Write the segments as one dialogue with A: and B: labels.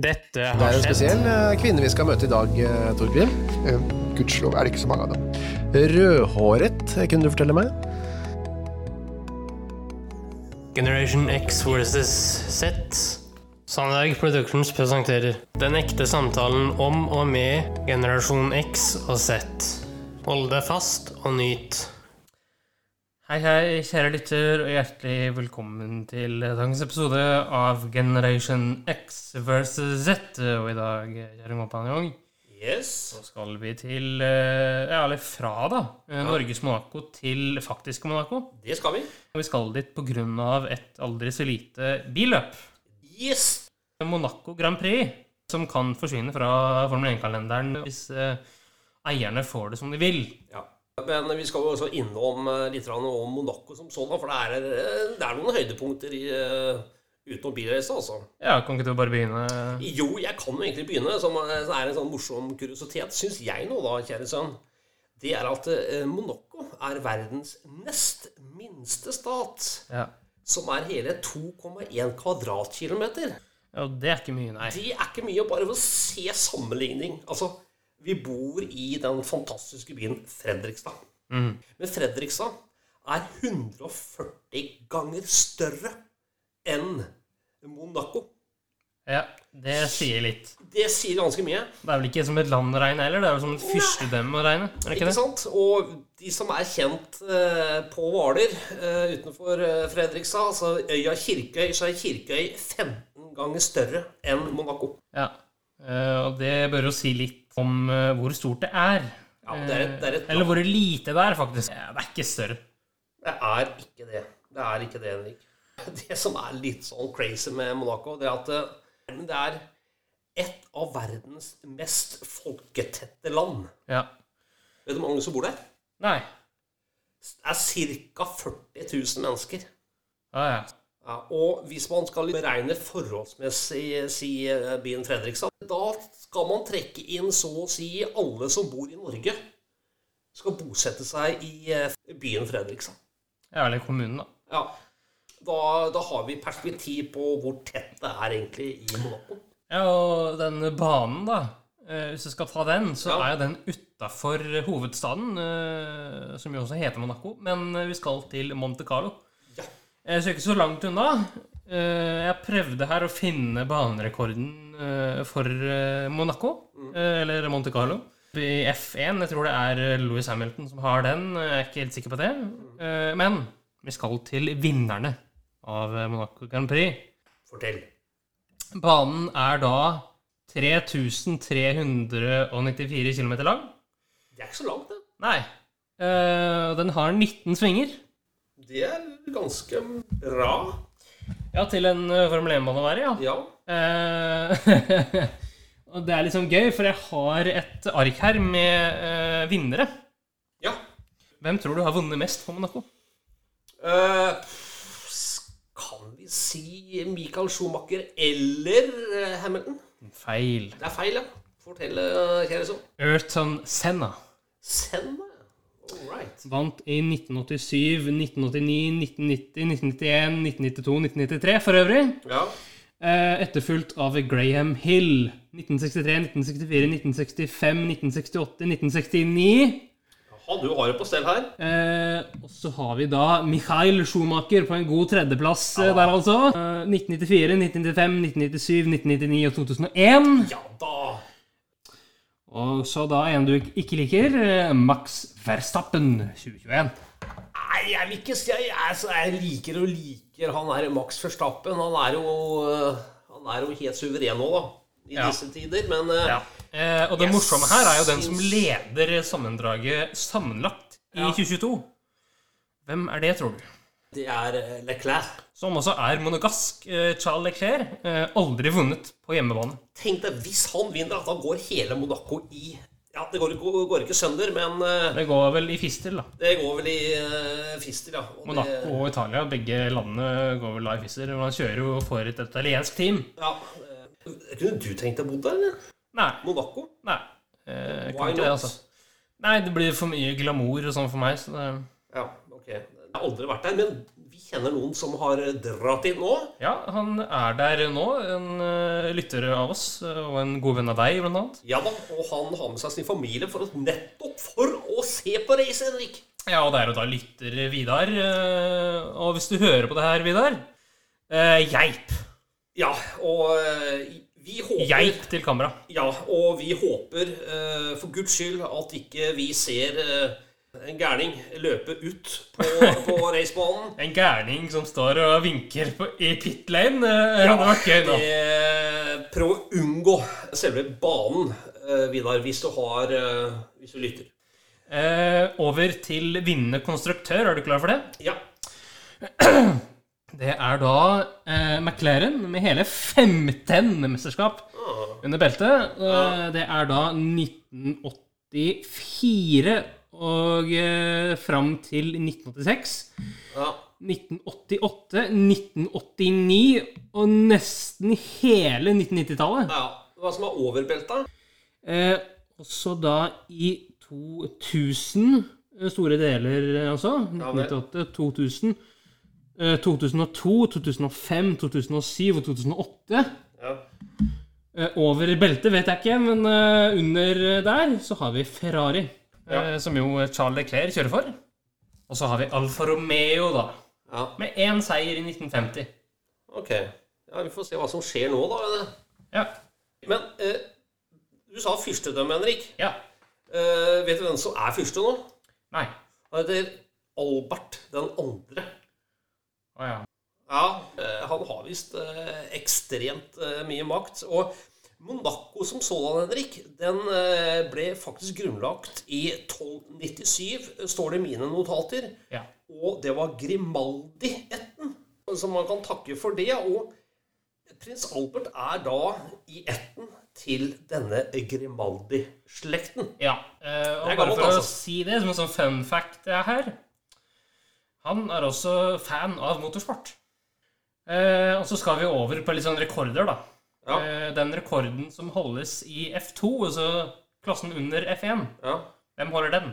A: Dette
B: Det
A: har
B: er en
A: skjedd.
B: spesiell eh, kvinne vi skal møte i dag, eh, Torgrim.
C: Eh, Gudskjelov er det ikke så mange av dem.
B: Rødhåret, eh, kunne du fortelle meg?
A: Generation X versus Z. Sandberg Productions presenterer Den ekte samtalen om og med generasjon X og Z. Hold deg fast og nyt.
D: Hei, hei, kjære lytter, og hjertelig velkommen til dagens episode av Generation X versus Z. Og i dag, kjære kompanjong,
A: Yes.
D: så skal vi til eh, Ja, eller fra, da. eh, Norges Monaco til faktiske Monaco.
A: Det skal vi.
D: Og vi skal dit pga. et aldri så lite billøp.
A: Yes!
D: Monaco Grand Prix, som kan forsvinne fra Formel 1-kalenderen hvis eh, eierne får det som de vil.
E: Ja. Men vi skal jo også innom eh, litt grann om Monaco som sånn, da, for det er, eh, det er noen høydepunkter i, eh, utenom bilreise, altså.
D: Ja, kan ikke du bare begynne?
E: Jo, jeg kan jo egentlig begynne, som eh, så er en sånn morsom kuriositet, syns jeg nå da, kjære sønn. Det er at eh, Monaco er verdens nest minste stat,
D: Ja.
E: som er hele 2,1 kvadratkilometer.
D: ja, det er ikke mye, nei.
E: Det er ikke mye, bare for å se sammenligning. Altså, vi bor i den fantastiske byen Fredrikstad.
D: Mm.
E: Men Fredrikstad er 140 ganger større enn Monaco.
D: Ja, det sier litt.
E: Det sier ganske mye.
D: Det er vel ikke som et land å regne heller, det er vel som et fyrstedømme å regne? Er det ikke
E: Ikke
D: det?
E: sant? Og de som er kjent eh, på Hvaler eh, utenfor eh, Fredrikstad, altså øya Kirkøy, så er Kirkøy 15 ganger større enn Monaco.
D: Ja. Eh, og det bør jo si litt om eh, hvor stort det er.
E: Ja, det er et- det er et-
D: Eh, Eller hvor lite det er, faktisk. Ja, det er ikke større.
E: Det er ikke det. Det er ikke det, Henrik. Det som er litt sånn crazy med Monaco, det er at eh, det er et av verdens mest folketette land.
D: Ja.
E: Vet du hvor mange som bor der?
D: Nei.
E: Det er ca. 40 000 mennesker.
D: Ja, ja.
E: Ja, og hvis man skal beregne forholdsmessig si, eh, byen Fredrikstad, da skal man trekke inn så å si alle som bor i Norge, skal bosette seg i eh, byen Fredrikstad.
D: ja eller kommunen, da.
E: Ja. Da, da har vi perspektiv på hvor tett det er egentlig i Monaco.
D: Ja, og den banen, da. eh, Hvis du skal ta den, så
E: Ja.
D: er jo den utafor hovedstaden, eh, som jo også heter Monaco. Men eh, vi skal til Monte Carlo.
E: Ja.
D: Eh, Så ikke så langt unna. Eh, Jeg prøvde her å finne banerekorden eh, for eh, Monaco,
E: Mm.
D: eh, eller Monte Carlo. I F1, jeg tror det er eh, Lewis Hamilton som har den. eh, Jeg er ikke helt sikker på det.
E: Mm.
D: Eh, Men vi skal til vinnerne av eh, Monaco Grand Prix.
E: Fortell.
D: Banen er da 3394 km lang.
E: Det er ikke så langt, det.
D: Nei. Eh, den har 19 svinger.
E: Det er ganske bra.
D: Ja, til en eh, Formel 1-bane å være, ja.
E: Ja.
D: Eh, og det er liksom gøy, for jeg har et ark her med eh, vinnere.
E: ja.
D: Hvem tror du har vunnet mest for Monaco?
E: Eh, kan vi si Michael Schumacher eller eh, Hamilton?
D: Feil.
E: Det er feil, ja. Fortell, eh, kjære sønn.
D: Ayrton Senna
E: Send meg. All right.
D: vant i 1987, 1989, 1990, 1991, 1992, 1993 for øvrig.
E: Ja.
D: Eh, Etterfulgt av Graham Hill. 1963, 1964, 1965, 1968, 1969.
E: Jaha, du har det på stell her.
D: Eh, og så har vi da Mikhail Schumacher på en god tredjeplass eh, der, altså. Eh, 1994, 1995, 1997, 1999 og 2001.
E: Ja da.
D: Og så da en du ik- ikke liker, eh, Max Verstappen 2021.
E: Nei, jeg vil ikke si jeg, altså, jeg liker og liker han er Max Verstappen. Han er jo, eh, han er jo helt suveren nå, da. I
D: Ja.
E: disse tider. Men eh,
D: Eh, og det
E: Jeg
D: morsomme her er jo den som
E: syns-
D: leder sammendraget sammenlagt i 2022. Hvem er det, tror du?
E: det er eh, Leclerc.
D: som også er monogask. eh, Charles Leclerc eh, aldri vunnet på hjemmebane.
E: Tenk deg hvis han vinner, at han går hele Monaco i Ja, det går, ikke- går ikke sønder, men eh,
D: Det går vel i fistel, da.
E: det går vel i eh, fistel, ja. Og
D: Monaco
E: Det,
D: og Italia, begge landene går vel da i fistel. og Han kjører jo for et italiensk team.
E: ja. eh, Kunne du tenkt deg å bo der, eller?
D: Nei.
E: Monaco?
D: nei. Eh,
E: Why
D: kan ikke det,
E: not?
D: altså. Nei, det blir for mye glamour og sånn for meg. Så det,
E: Ja, ok. Jeg har aldri vært der, men vi kjenner noen som har dratt inn nå.
D: Ja, han er der nå. En eh, lytter av oss, eh, og en god venn av deg, blant annet.
E: Ja da, og han har med seg sin familie for å, nettopp for å se på racet, Henrik.
D: Ja, og det er jo da lytter Vidar. eh, Og hvis du hører på det her, Vidar eh, Geip.
E: Ja, og eh, vi håper
D: Geip til kamera.
E: Ja, og vi håper eh, for guds skyld at ikke vi ser eh, en gærning løpe ut på, på racebanen.
D: En gærning som står og vinker på, i pit lane. eh, det var gøy nå.
E: Eh, Prøv å unngå selve banen, eh, Vidar, hvis du har eh, Hvis du lytter.
D: Eh, over til vinnende konstruktør. Er du klar for det?
E: Ja.
D: Det er da eh, McLaren med hele 15 mesterskap
E: Ah,
D: under beltet. Eh, det er da 1984 og eh, fram til 1986.
E: ja.
D: 1988, 1989 og nesten hele 1990-tallet.
E: ja. Hva som er over belta?
D: Eh, også da i 2000, eh, store deler eh, altså.
E: Ja, vel.
D: 1998, 2000, eh, 2002, 2005, 2007 og 2008.
E: Ja.
D: Eh, Over beltet vet jeg ikke, men eh, under der så har vi Ferrari. eh, Som jo Charles Leclerc kjører for. Og så har vi Alfa Romeo, da.
E: ja.
D: Med én seier i 1950.
E: Ok. Ja, Vi får se hva som skjer nå, da.
D: Ja.
E: Men eh, du sa fyrstedømme, Henrik.
D: ja.
E: Eh, vet du hvem som er fyrste nå?
D: Nei.
E: Han heter Albert den andre.
D: Å ja.
E: Ja, eh, han har visst eh, ekstremt eh, mye makt. Og Monaco som sådan, Henrik, den eh, ble faktisk grunnlagt i 1297, står det i mine notater.
D: ja.
E: Og det var Grimaldi-ætten som man kan takke for det. Og prins Albert er da i ætten til denne Grimaldi-slekten.
D: Ja. eh, og
E: Det
D: bare
E: er gammelt,
D: for
E: altså.
D: å si det som en sånn fun fact det er her Han er også fan av motorsport. Eh, og så skal vi over på litt sånn rekorder, da.
E: Ja.
D: Eh, den rekorden som holdes i F2, altså klassen under F1,
E: Ja.
D: hvem holder den?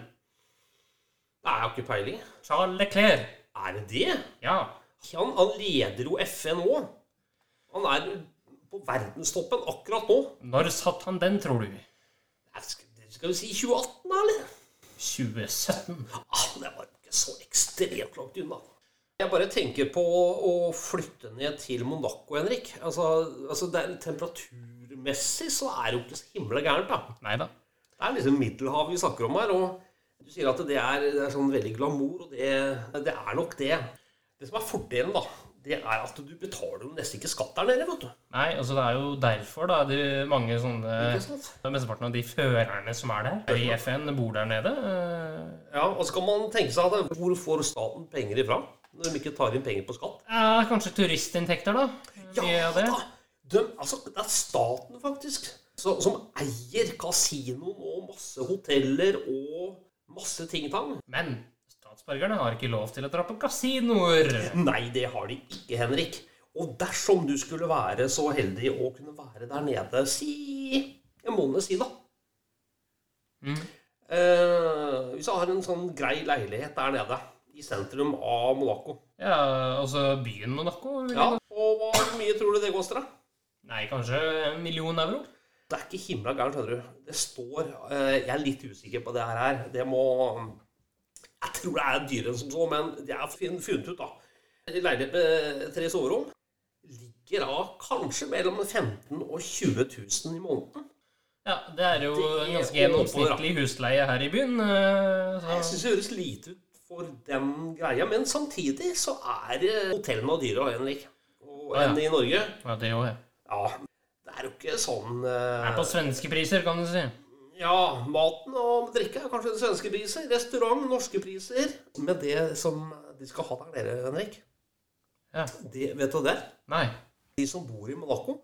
E: Det er jo ikke peiling.
D: Charles Leclerc.
E: Er det det?
D: Ja.
E: Han, han leder jo FN nå. Han er på verdenstoppen akkurat nå.
D: Når satt han den, tror du?
E: Nei, Skal skal vi si 2018, da, eller?
D: 2017.
E: Ah, det var ikke så ekstremt langt unna. Jeg bare tenker på å, å flytte ned til Monaco, Henrik. Altså, altså det er, temperaturmessig så er det jo ikke så himla gærent, da.
D: Nei da.
E: Det er liksom Middelhavet vi snakker om her. Og du sier at det er, det er sånn veldig glamour, og det, det er nok det. Det som er fordelen, da, det er at du betaler jo nesten ikke skatt der nede, vet du.
D: Nei, altså det er jo derfor, da, de mange sånne
E: Ikke sant?
D: Mesteparten av de førerne som er der i FN, bor der nede. Eh,
E: Ja, og så kan man tenke seg at hvor får staten penger ifra når de ikke tar inn penger på skatt?
D: Ja, kanskje turistinntekter, da. Mye av det.
E: da! De, altså, det er staten, faktisk, så, som eier kasinoen og masse hoteller og masse ting-tang.
D: Men statsborgerne har ikke lov til å dra på kasinoer.
E: Nei, det har de ikke, Henrik. Og dersom du skulle være så heldig å kunne være der nede, si en måned si, da.
D: Mm.
E: Eh, hvis du har en sånn grei leilighet der nede, i sentrum av Monaco
D: Ja, altså byen Monaco. vil jeg
E: Ja,
D: da-
E: og hvor mye tror du det koster, da?
D: Nei, kanskje en million euro?
E: Det er ikke himla gærent, hører du. Det står eh, Jeg er litt usikker på det her her. Det må Jeg tror det er dyrere enn som så, men det er fin- funnet ut, da. En Leilighet med tre soverom ligger da kanskje mellom 15 000 og 20 000 i måneden.
D: Ja, det er jo
E: Det
D: en
E: er
D: ganske
E: over, da.
D: gjennomsnittlig husleie her i byen. eh,
E: Jeg
D: Så
E: syns det høres lite ut for den greia, men samtidig så er eh, hotellene dyrere, Henrik, og
D: Ja, ja.
E: enn i Norge.
D: ja, det òg, ja.
E: Ja, det er jo ikke sånn
D: Det
E: eh,
D: er på svenske priser, kan du si.
E: Ja, maten og drikka er kanskje svenske priser. Restaurant, norske priser. Men det som de skal ha der nede, Henrik
D: Ja.
E: det, Vet du det?
D: Nei.
E: De som bor i Monaco,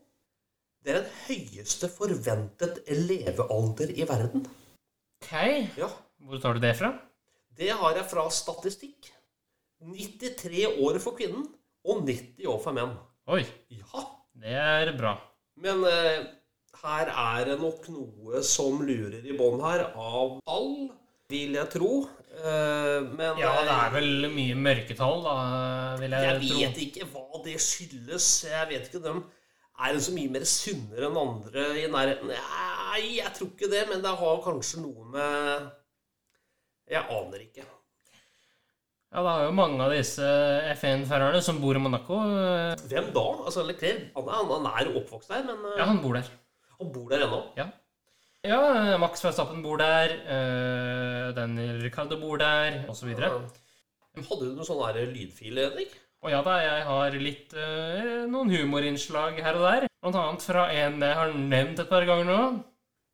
E: det er den høyeste forventet levealder i verden.
D: Ok.
E: Ja,
D: Hvor tar du det fra?
E: Det har jeg fra statistikk. 93 år for kvinnen og 90 år for menn.
D: Oi,
E: Ja,
D: det er bra.
E: Men eh, her er det nok noe som lurer i bånn her, av all, vil jeg tro. Eh, men eh,
D: Ja, det er vel mye mørketall, da, vil jeg,
E: Jeg
D: tro.
E: vet ikke hva det skyldes. Jeg vet ikke dem. Er de så mye mer sunnere enn andre i nærheten? Nei, jeg tror ikke det, men det har kanskje noe med Jeg aner ikke.
D: Ja, det er jo mange av disse F1-førerne som bor i Monaco. eh,
E: Hvem da? Altså, Leclerc han er, han er oppvokst der, men eh,
D: Ja, han bor der.
E: han bor der ennå.
D: Ja. ja, eh, Max Verstappen bor der, eh, Daniel Ricardo bor der, osv. Å
E: Hadde du noen sånn der lydfil, Henrik?
D: ja da, jeg har litt eh, noen humorinnslag her og der. Blant annet fra en jeg har nevnt et par ganger nå.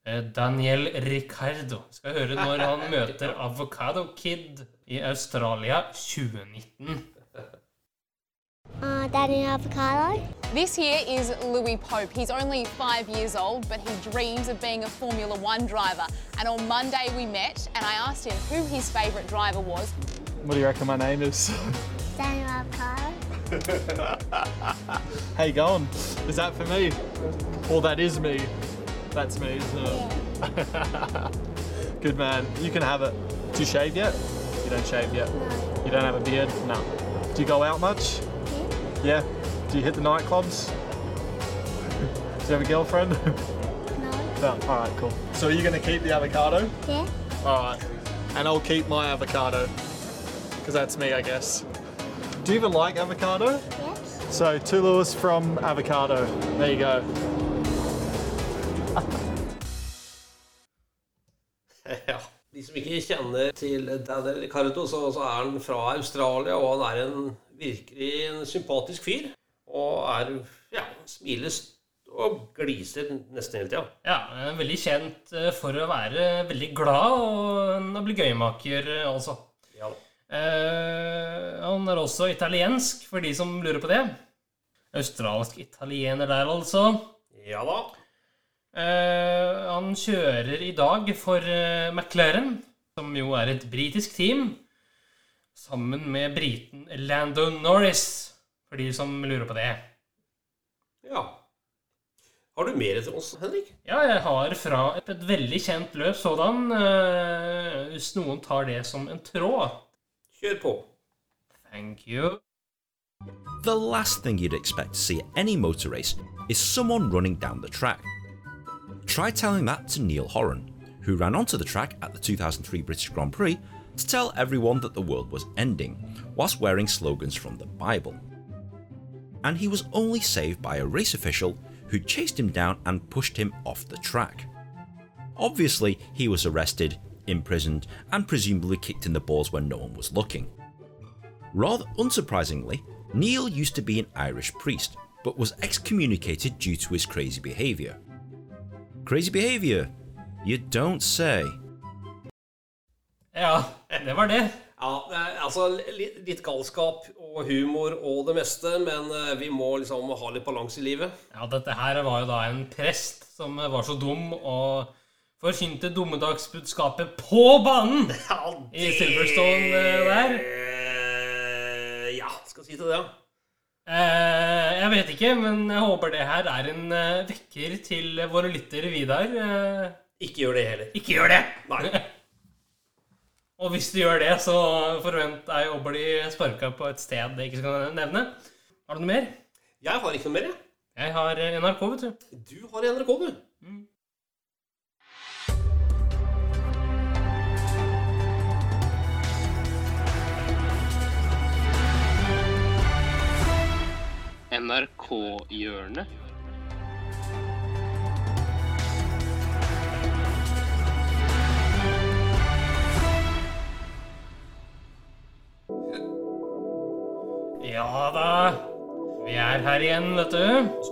D: eh, Daniel Ricardo. Skal høre når han møter Avocado Kid i Australia 2019.
F: Uh, Daddy Avocado.
G: This here is Louis Pope. He's only five years old, but he dreams of being a Formula One driver. And on Monday we met, and I asked him who his favourite driver was.
H: What do you reckon my name is?
F: Daddy Avocado.
H: How you going? Is that for me? Well, that is me. That's me, isn't it? Good man. You can have it. Do you shave yet? You don't shave yet. You don't have a beard? No. Do you go out much? Yeah. Do you hit the nightclubs? Do you have a girlfriend?
F: No.
H: no. All right, cool. So are you going to keep the avocado?
F: Yeah.
H: All right. And I'll keep my avocado. Because that's me, I guess. Do you even like avocado?
F: Yes.
H: So two lures from avocado. There you go.
E: Ja. De som ikke kjenner til Daniel Ricardo, så, så er han fra Australia, og han er en virkelig en sympatisk fyr. Og er ja, smiler st- og gliser nesten hele tida.
D: Ja, eh, veldig kjent eh, for å være veldig glad og en obligøymaker, eh, altså.
E: Ja.
D: Eh, han er også italiensk, for de som lurer på det. Australsk-italiener der, altså.
E: ja da.
D: Eh, han kjører i dag for eh, McLaren, som jo er et britisk team, sammen med briten Lando Norris, for de som lurer på det.
E: Ja. Har du mer til oss, Henrik?
D: Ja, jeg har fra et, et veldig kjent løp sådan, eh, hvis noen tar det som en tråd.
E: Kjør på.
D: Thank you.
I: The last thing you'd expect to see at any motor race is someone running down the track. Try telling that to Neil Horan, who ran onto the track at the 2003 British Grand Prix to tell everyone that the world was ending, whilst wearing slogans from the Bible. And he was only saved by a race official who chased him down and pushed him off the track. Obviously, he was arrested, imprisoned, and presumably kicked in the balls when no one was looking. Rather unsurprisingly, Neil used to be an Irish priest, but was excommunicated due to his crazy behaviour. Crazy behaviour? You don't say.
D: Ja, det var det.
E: Ja, eh, altså litt, litt galskap og humor og det meste, men eh, vi må liksom ha litt balanse i livet.
D: Ja, dette her var jo da en prest som var så dum og forkynte dommedagsbudskapet på banen i Silverstone eh, der.
E: Eh, Ja, skal si til det, ja.
D: Eh, jeg vet ikke, men jeg håper det her er en eh, vekker til våre lyttere, Vidar. Eh,
E: Ikke gjør det heller.
D: ikke gjør det!
E: Nei.
D: Og hvis du gjør det, så forvent deg å bli sparka på et sted det ikke skal nevne. Har du noe mer?
E: Jeg har ikke noe mer, jeg.
D: Jeg har eh, NRK, vet du.
E: Du har NRK, du.
D: NRK-hjørnet. Ja da. Vi er her igjen, vet du.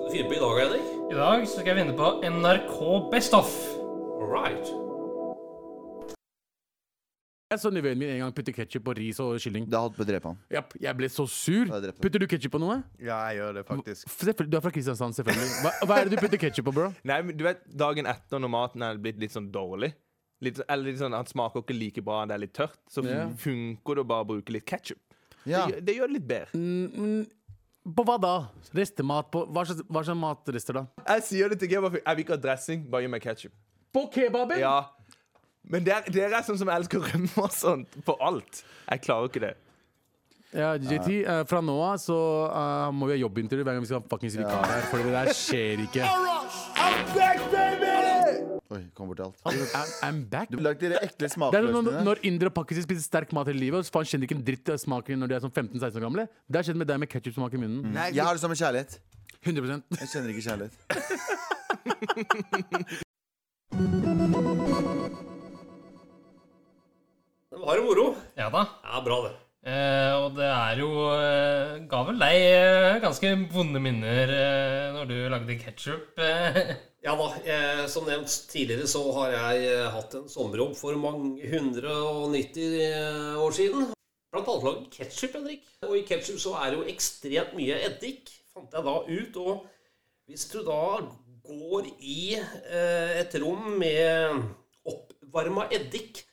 E: Hva skal du finne på i dag, Henrik?
D: I dag så skal jeg vinne på NRK Best Off.
E: All right.
J: Jeg så nevøen min en gang putte ketsjup på ris og kylling.
K: Da hadde vi drept han.
J: Japp, jeg ble så sur.
K: Da drepte du.
J: Putter du ketsjup på noe?
L: Ja, jeg gjør det faktisk.
J: F- selvfølgelig- Du er fra Kristiansand, selvfølgelig. Hva, hva er det du putter ketsjup på, bro?
L: Nei, men du vet, Dagen etter når maten er blitt litt sånn dårlig litt, Eller litt sånn, Han smaker ikke like bra, det er litt tørt, så
J: Ja.
L: funker det å bare bruke litt ketsjup.
K: Ja.
L: Det, gjør- det gjør det litt bedre.
J: Mm, På hva da? Restemat på Hva slags, hva slags matrester da?
L: Jeg sier det til kebabfyren. Jeg vil ikke ha dressing, bare gi meg ketsjup.
J: På kebaben?
L: Ja. Men der- dere er sånn som elsker å rømme og sånt på alt. Jeg klarer ikke det.
J: Ja, JT, eh, fra nå av så eh, må vi ha jobbintervju hver gang vi skal ha fuckings vikar her, for det der skjer ikke.
K: Oi, kom bort til alt.
J: I'm, I'm back.
K: Du lagde de ekle
J: Det er som når,
K: smakløkene.
J: når indere og pakkis spiser sterk mat hele livet, og så faen kjenner de ikke en dritt av smaken når de er sånn 15-16 år gamle. Det har skjedd med deg med ketsjupsmak i munnen.
K: Nei, Jeg har det samme kjærlighet.
J: 100
K: Jeg kjenner ikke kjærlighet.
E: Det var jo moro.
D: Ja da.
E: Ja, bra det.
D: Eh, og det er jo eh, ga vel deg eh, ganske vonde minner eh, når du lagde ketsjup. Eh,
E: Ja da. Eh, som nevnt tidligere så har jeg eh, hatt en sommerjobb for mange 190 eh, år siden. Blant annet laget ketsjup, Henrik. Og i ketsjup så er det jo ekstremt mye eddik, fant jeg da ut. Og hvis du da går i eh, et rom med oppvarma eddik,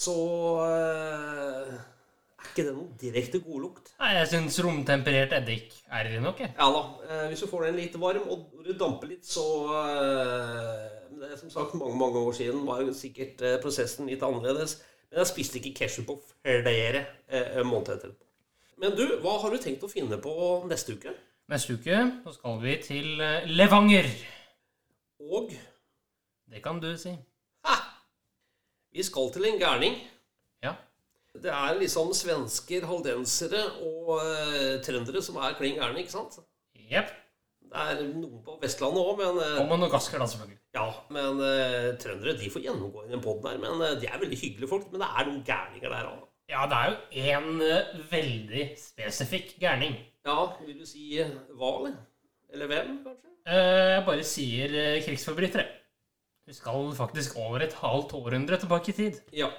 E: så eh, er ikke det noen direkte godlukt.
D: Nei, jeg syns romtemperert eddik er det nok, jeg.
E: Ja da. eh, Hvis du får den litt varm, og når du damper litt, så eh, men Det er som sagt mange mange år siden, var jo sikkert eh, prosessen litt annerledes. Men jeg spiste ikke ketsjup på flere eh, måneder etterpå. Men du, hva har du tenkt å finne på neste uke?
D: Neste uke så skal vi til eh, Levanger.
E: Og
D: Det kan du si.
E: vi skal til en gærning.
D: Ja.
E: Det er liksom svensker, haldensere og eh, trøndere som er klin gærne, ikke sant?
D: Jepp.
E: Det er noen på Vestlandet òg, men eh,
D: Og monogasker, da, selvfølgelig.
E: Ja, men eh, trøndere de får gjennomgå i den poden her. Men eh, de er veldig hyggelige folk. Men det er noen gærninger der òg.
D: Ja, det er jo én eh, veldig spesifikk gærning.
E: Ja, vil du si eh, hva, eller? Eller hvem, kanskje?
D: Eh, jeg bare sier eh, krigsforbrytere. Vi skal faktisk over et halvt århundre tilbake i tid.
E: Ja.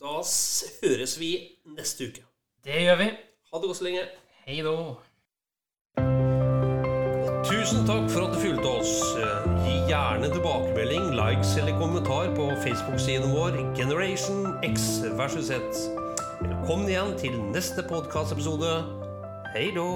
E: Da s- høres vi neste uke.
D: Det gjør vi.
E: Ha det godt så lenge.
D: Hei då.
E: Tusen takk for at du fulgte oss. Eh, Gi gjerne tilbakemelding, likes eller kommentar på Facebook-siden vår Generation X versus Z. Velkommen igjen til neste podkastepisode. Hei då.